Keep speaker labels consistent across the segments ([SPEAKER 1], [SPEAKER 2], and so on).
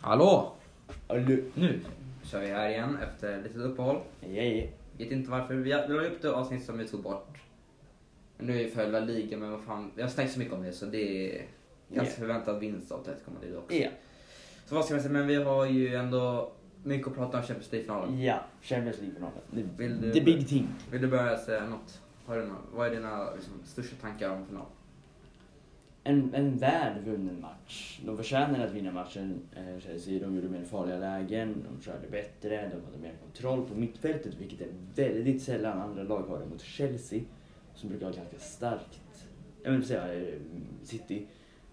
[SPEAKER 1] Hallå!
[SPEAKER 2] Allu.
[SPEAKER 1] Nu kör vi här igen efter ett litet uppehåll.
[SPEAKER 2] Jajaj.
[SPEAKER 1] Vet inte varför. Vi vi la upp det avsnitt som vi tog bort. Men Nu är vi för La Liga, men vad fan. Vi har snackat så mycket om det så det är ganska
[SPEAKER 2] Ja.
[SPEAKER 1] förväntad vinst av Atletico Madrid också.
[SPEAKER 2] Ja.
[SPEAKER 1] Så vad ska man säga, men vi har ju ändå mycket att prata om Champions League-finalen.
[SPEAKER 2] Ja, Champions League-finalen.
[SPEAKER 1] Vill du-
[SPEAKER 2] The, the big thing.
[SPEAKER 1] Vill du börja säga något? Har du några, vad är dina liksom, största tankar om final?
[SPEAKER 2] En, en väl vunnen match. De förtjänade att vinna matchen. Eh, Chelsea, de gjorde mer farliga lägen, de körde bättre, de hade mer kontroll på mittfältet, vilket är väldigt sällan andra lag har det mot Chelsea, som brukar ha ganska starkt, jag vill säga eh, City,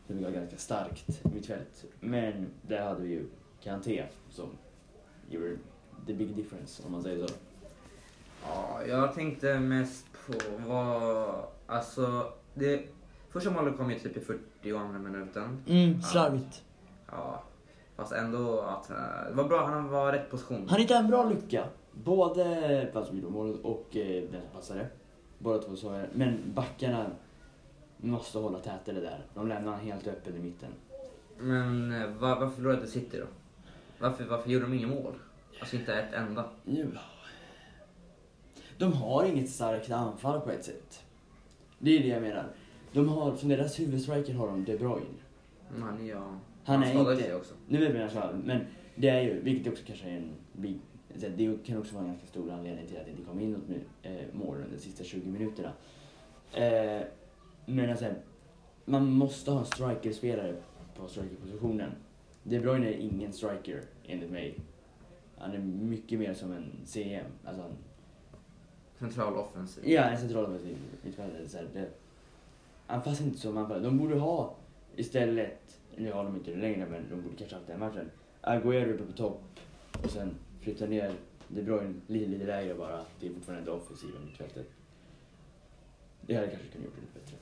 [SPEAKER 2] som brukar ha ganska starkt mittfält. Men där hade vi ju Kanté som gjorde the big difference, om man säger så.
[SPEAKER 1] Ja, jag tänkte mest på vad... Alltså, det... Första målet kom ju typ i 42 minuten.
[SPEAKER 3] Mm,
[SPEAKER 1] Ja.
[SPEAKER 3] slarvigt.
[SPEAKER 1] Ja. Fast ändå att... eh, Det var bra, han var i rätt position.
[SPEAKER 2] Han hittade en bra lucka. Både fast vi gjorde målet och eh, den som passade. Båda två såg jag. Men backarna måste hålla tätare där. De lämnar han helt öppen i mitten.
[SPEAKER 1] Men eh, var, varför förlorade City då? Varför, varför gjorde de inga mål? Alltså inte ett enda.
[SPEAKER 2] Nu. De har inget starkt anfall på ett sätt. Det är det jag menar. De har, som deras huvudstriker har de De Bruyne.
[SPEAKER 1] Men han är ju... Han,
[SPEAKER 2] Han är
[SPEAKER 1] skadade
[SPEAKER 2] inte-
[SPEAKER 1] sig också.
[SPEAKER 2] Nu vet jag vad jag sa, men det är ju, vilket också kanske är en big, det kan också vara en ganska stor anledning till att det inte kom in något mu- eh, mål under de sista 20 minuterna. Eh, men alltså, man måste ha en strikerspelare på strikerpositionen. De Bruyne är ingen striker, enligt mig. Han är mycket mer som en CM, alltså han,
[SPEAKER 1] Central offensiv.
[SPEAKER 2] ja, en central offensiv mittfältare. så här, det- Han passar inte som anfallare. De borde ha istället, nu har de inte det längre, men de borde kanske haft den matchen. Aguero uppe på topp och sen flytta ner De Bruyne lite, lite lägre bara. Det är fortfarande inte offensiven mittfältet. Det hade kanske kunnat gjort det lite bättre.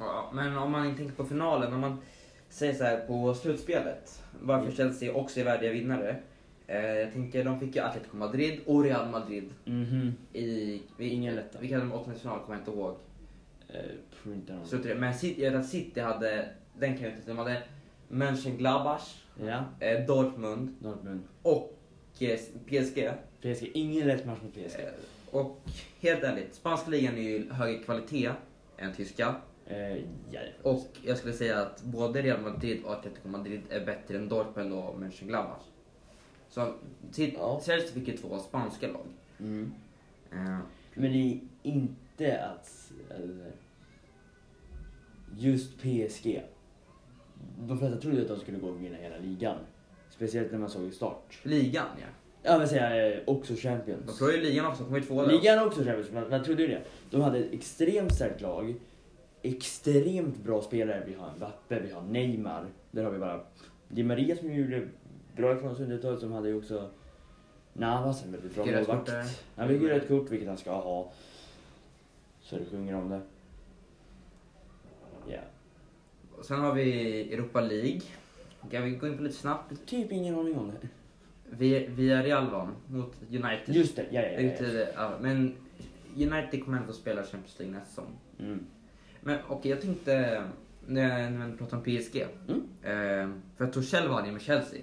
[SPEAKER 1] Ja, men om man inte tänker på finalen, om man säger så här på slutspelet, varför
[SPEAKER 2] Mm.
[SPEAKER 1] Chelsea också är värdiga vinnare. Eh, jag tänker de fick ju Atletico Madrid och Real Madrid
[SPEAKER 2] Mhm.
[SPEAKER 1] i... vi-
[SPEAKER 2] Ingen lätta.
[SPEAKER 1] Vilka hade de i åttondelsfinal? Kommer jag inte ihåg.
[SPEAKER 2] Eh, printa någon.
[SPEAKER 1] Så det- Men City, jag vet att City hade, den kan jag inte, de hade Mönchengladbach,
[SPEAKER 2] Ja,
[SPEAKER 1] eh, Dortmund
[SPEAKER 2] Dortmund.
[SPEAKER 1] och eh, PSG.
[SPEAKER 2] PSG, ingen lätt match mot PSG.
[SPEAKER 1] Eh, och helt ärligt, spanska ligan är ju högre kvalitet än tyska.
[SPEAKER 2] Eh, ja, det får man
[SPEAKER 1] Och jag skulle säga att både Real Madrid och Atletico Madrid är bättre än Dortmund och Mönchengladbach. Så till-
[SPEAKER 2] Ja.
[SPEAKER 1] Chelsea fick ju två spanska lag.
[SPEAKER 2] säga. Mm.
[SPEAKER 1] Eh,
[SPEAKER 2] Men det är inte att... Eller, just PSG. De flesta trodde att de skulle gå och vinna hela ligan. Speciellt när man såg i start.
[SPEAKER 1] ligan ja.
[SPEAKER 2] Ja men säga eh, också
[SPEAKER 1] De
[SPEAKER 2] Champions.
[SPEAKER 1] förlorade ju ligan också, kom ju två där.
[SPEAKER 2] Ligan är också Champions, man, man trodde ju det. De hade ett extremt starkt lag. Extremt bra spelare. Vi har Mbappe, vi har Neymar. Där har vi bara Di Maria som gjorde bra ifrån sig under ett tag, som hade ju också Navas, en väldigt bra
[SPEAKER 1] Fick ju rött
[SPEAKER 2] målvakt.
[SPEAKER 1] kort där.
[SPEAKER 2] Han fick ju rött kort, vilket han ska ha. Så det sjunger om det. Ja.
[SPEAKER 1] Och Sen har vi Europa League. Kan vi gå in på lite snabbt?
[SPEAKER 2] Typ ingen aning om det.
[SPEAKER 1] Vi- Villarreal vann mot United.
[SPEAKER 2] Just det, ja ja ja. ja.
[SPEAKER 1] Inte, ja, men United kommer ändå spela Champions League nästa säsong.
[SPEAKER 2] Mm.
[SPEAKER 1] Men okej, jag tänkte, när när vi pratade om PSG.
[SPEAKER 2] Mm.
[SPEAKER 1] Eh, för att Torshäll vann ju med Chelsea.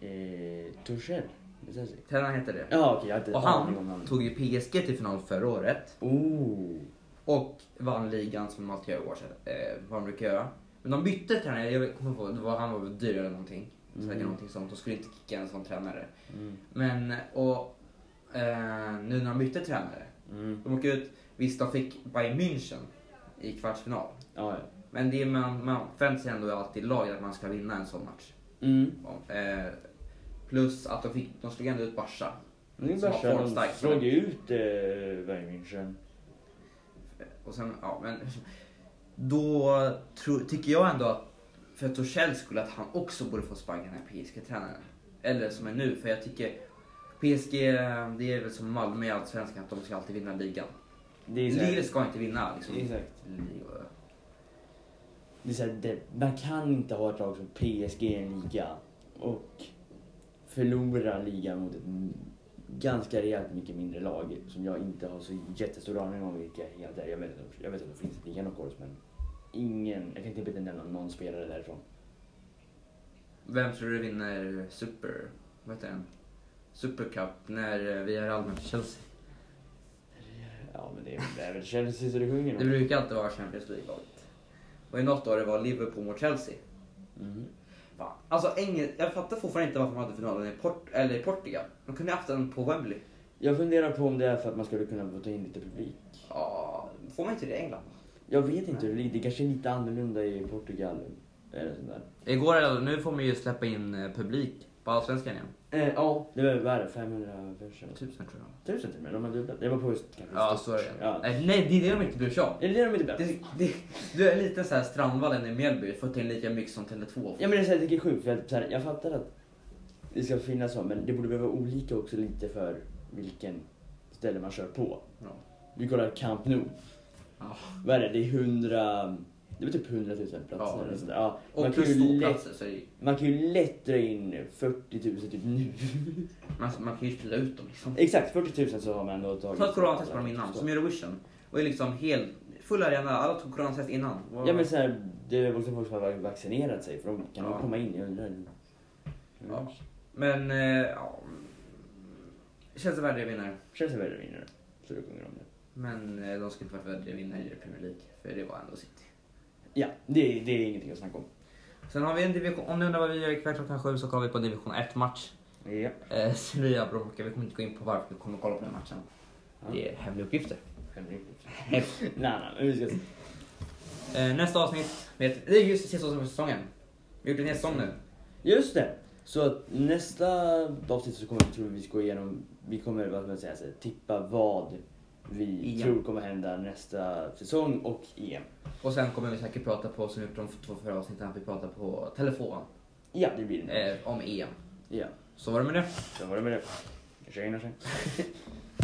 [SPEAKER 2] Eh, Torshäll? Det säger sig.
[SPEAKER 1] Tränaren heter det.
[SPEAKER 2] Ja okej, jag har inte
[SPEAKER 1] Och
[SPEAKER 2] aning om
[SPEAKER 1] han
[SPEAKER 2] namnet.
[SPEAKER 1] tog ju PSG till final förra året
[SPEAKER 2] Oh.
[SPEAKER 1] och vann ligan som de alltid gör i år sedan, eh, vad de brukar göra. Men de bytte tränare, jag kommer inte ihåg, det var, han var väl dyrare eller någonting. Säkert
[SPEAKER 2] Mm.
[SPEAKER 1] någonting sånt, de skulle inte kicka en sån tränare.
[SPEAKER 2] Mm.
[SPEAKER 1] Men, och eh, nu när de bytte tränare,
[SPEAKER 2] Mm.
[SPEAKER 1] de åker ut, visst de fick Bayern München i kvartsfinal.
[SPEAKER 2] Ja, ja.
[SPEAKER 1] Men det är man, man förväntar sig ändå alltid i laget att man ska vinna en sån match.
[SPEAKER 2] Mm.
[SPEAKER 1] Eh, plus att de, fick, de slog ändå ut Barca.
[SPEAKER 2] Nu
[SPEAKER 1] Som
[SPEAKER 2] är
[SPEAKER 1] var
[SPEAKER 2] Barca, de
[SPEAKER 1] formstark.
[SPEAKER 2] slog ju ut eh, Bayern München.
[SPEAKER 1] Eh, Och sen, ja men. Då tror, tycker jag ändå att för Torshäll skulle att han också borde få sparka den här PSG-tränaren. Eller som är nu, för jag tycker PSG, det är väl som Malmö i Allsvenskan, att de ska alltid vinna ligan.
[SPEAKER 2] Det är så här-
[SPEAKER 1] Ligan ska inte vinna liksom.
[SPEAKER 2] Exakt.
[SPEAKER 1] Ligor.
[SPEAKER 2] Det är så här, det, man kan inte ha ett lag som PSG i en liga och förlora ligan mot ett m- ganska rejält mycket mindre lag som jag inte har så jättestor aning om vilka helt är. Jag vet, att de- jag vet att de finns typ i ligan of course men ingen, jag kan inte nämna någon spelare därifrån.
[SPEAKER 1] Vem tror du vinner Super... Vad heter den? Super Cup när eh, vi har allmänt Chelsea?
[SPEAKER 2] Ja, men det är, det är väl Chelsea så det sjunger
[SPEAKER 1] Det
[SPEAKER 2] om.
[SPEAKER 1] brukar alltid vara Champions League. Och i något år det var Liverpool mot Chelsea.
[SPEAKER 2] Mhm.
[SPEAKER 1] Fan. Alltså, Engel, jag fattar fortfarande inte varför man hade finalen i, Port- eller i Portugal. De kunde ju haft den på Wembley.
[SPEAKER 2] Jag funderar på om det är för att man skulle kunna ta in lite publik.
[SPEAKER 1] Ja, får man inte det i England?
[SPEAKER 2] Jag vet inte hur det ligger. Det kanske är lite annorlunda i Portugal. Eller sånt där.
[SPEAKER 1] Igår eller nu får man ju släppa in eh, publik på Allsvenskan igen.
[SPEAKER 2] Eh, ja, det var värre. 500 personer.
[SPEAKER 1] Tusen tror jag.
[SPEAKER 2] Tusen till och med. De har dubblat. Det var på just kanske
[SPEAKER 1] Ja,
[SPEAKER 2] stort.
[SPEAKER 1] så är det.
[SPEAKER 2] Ja.
[SPEAKER 1] Nej, nej, det är det de inte bryr sig om.
[SPEAKER 2] Är det det de är dubblat?
[SPEAKER 1] Det, det, du är lite så här Strandvallen i Mjällby, fått in lika mycket som Tele2.
[SPEAKER 2] Ja men det är så här, jag tycker det är sjukt för jag, så här, jag fattar att det ska finnas så men det borde väl vara olika också lite för vilken ställe man kör på.
[SPEAKER 1] Ja.
[SPEAKER 2] Vi kollar Camp Nou.
[SPEAKER 1] Ja.
[SPEAKER 2] Vad är det? Det är 100... Det var typ 100 000 platser.
[SPEAKER 1] Ja,
[SPEAKER 2] eller
[SPEAKER 1] det-
[SPEAKER 2] sånt där. ja. man,
[SPEAKER 1] Och
[SPEAKER 2] kan
[SPEAKER 1] plus
[SPEAKER 2] ju lätt,
[SPEAKER 1] ståplatser. Så är det-
[SPEAKER 2] man kan ju lätt dra in 40 000 typ nu.
[SPEAKER 1] man, man kan ju spela ut dem liksom.
[SPEAKER 2] Exakt, 40 000 så har man ändå tagit...
[SPEAKER 1] Ta ett coronatest på dem innan, som Eurovision. Och är liksom hel, full arena, alla tog coronatest innan. Wow.
[SPEAKER 2] Ja men så här, det är väl också folk som har vaccinerat sig för de kan
[SPEAKER 1] Ja.
[SPEAKER 2] ja. komma in. Jag undrar.
[SPEAKER 1] Ja. Men, eh, ja. Känns det värre vinnare.
[SPEAKER 2] Chelsea väljer vinner. Så du sjunger om det.
[SPEAKER 1] Men eh, de skulle inte varit värre vinnare i Premier League, för det var ändå City.
[SPEAKER 2] Ja, det, det är ingenting att snacka om.
[SPEAKER 1] Sen har vi en division, om ni undrar vad vi gör ikväll klockan sju så kollar vi på division 1 match.
[SPEAKER 2] Ja.
[SPEAKER 1] Eh, Sevilla Bråka, vi kommer inte gå in på varför vi kommer kolla på den matchen.
[SPEAKER 2] Ja.
[SPEAKER 1] Det är hemliga uppgifter.
[SPEAKER 2] nej, nej, men vi ska se.
[SPEAKER 1] Eh, nästa avsnitt, vet, det är just sista avsnittet för säsongen. Vi har gjort en hel säsong nu.
[SPEAKER 2] Just det! Så att nästa avsnitt så kommer vi, tror vi, ska gå igenom, vi kommer vad ska man säga, så här, tippa vad vi
[SPEAKER 1] EM.
[SPEAKER 2] tror kommer hända nästa säsong och EM.
[SPEAKER 1] Och sen kommer vi säkert prata på, som vi gjort de två förra avsnitten, att vi pratar på telefon
[SPEAKER 2] Ja, det blir det.
[SPEAKER 1] eh, om EM.
[SPEAKER 2] Ja,
[SPEAKER 1] Så var det med det.
[SPEAKER 2] så var det med det. Tjena, tjena.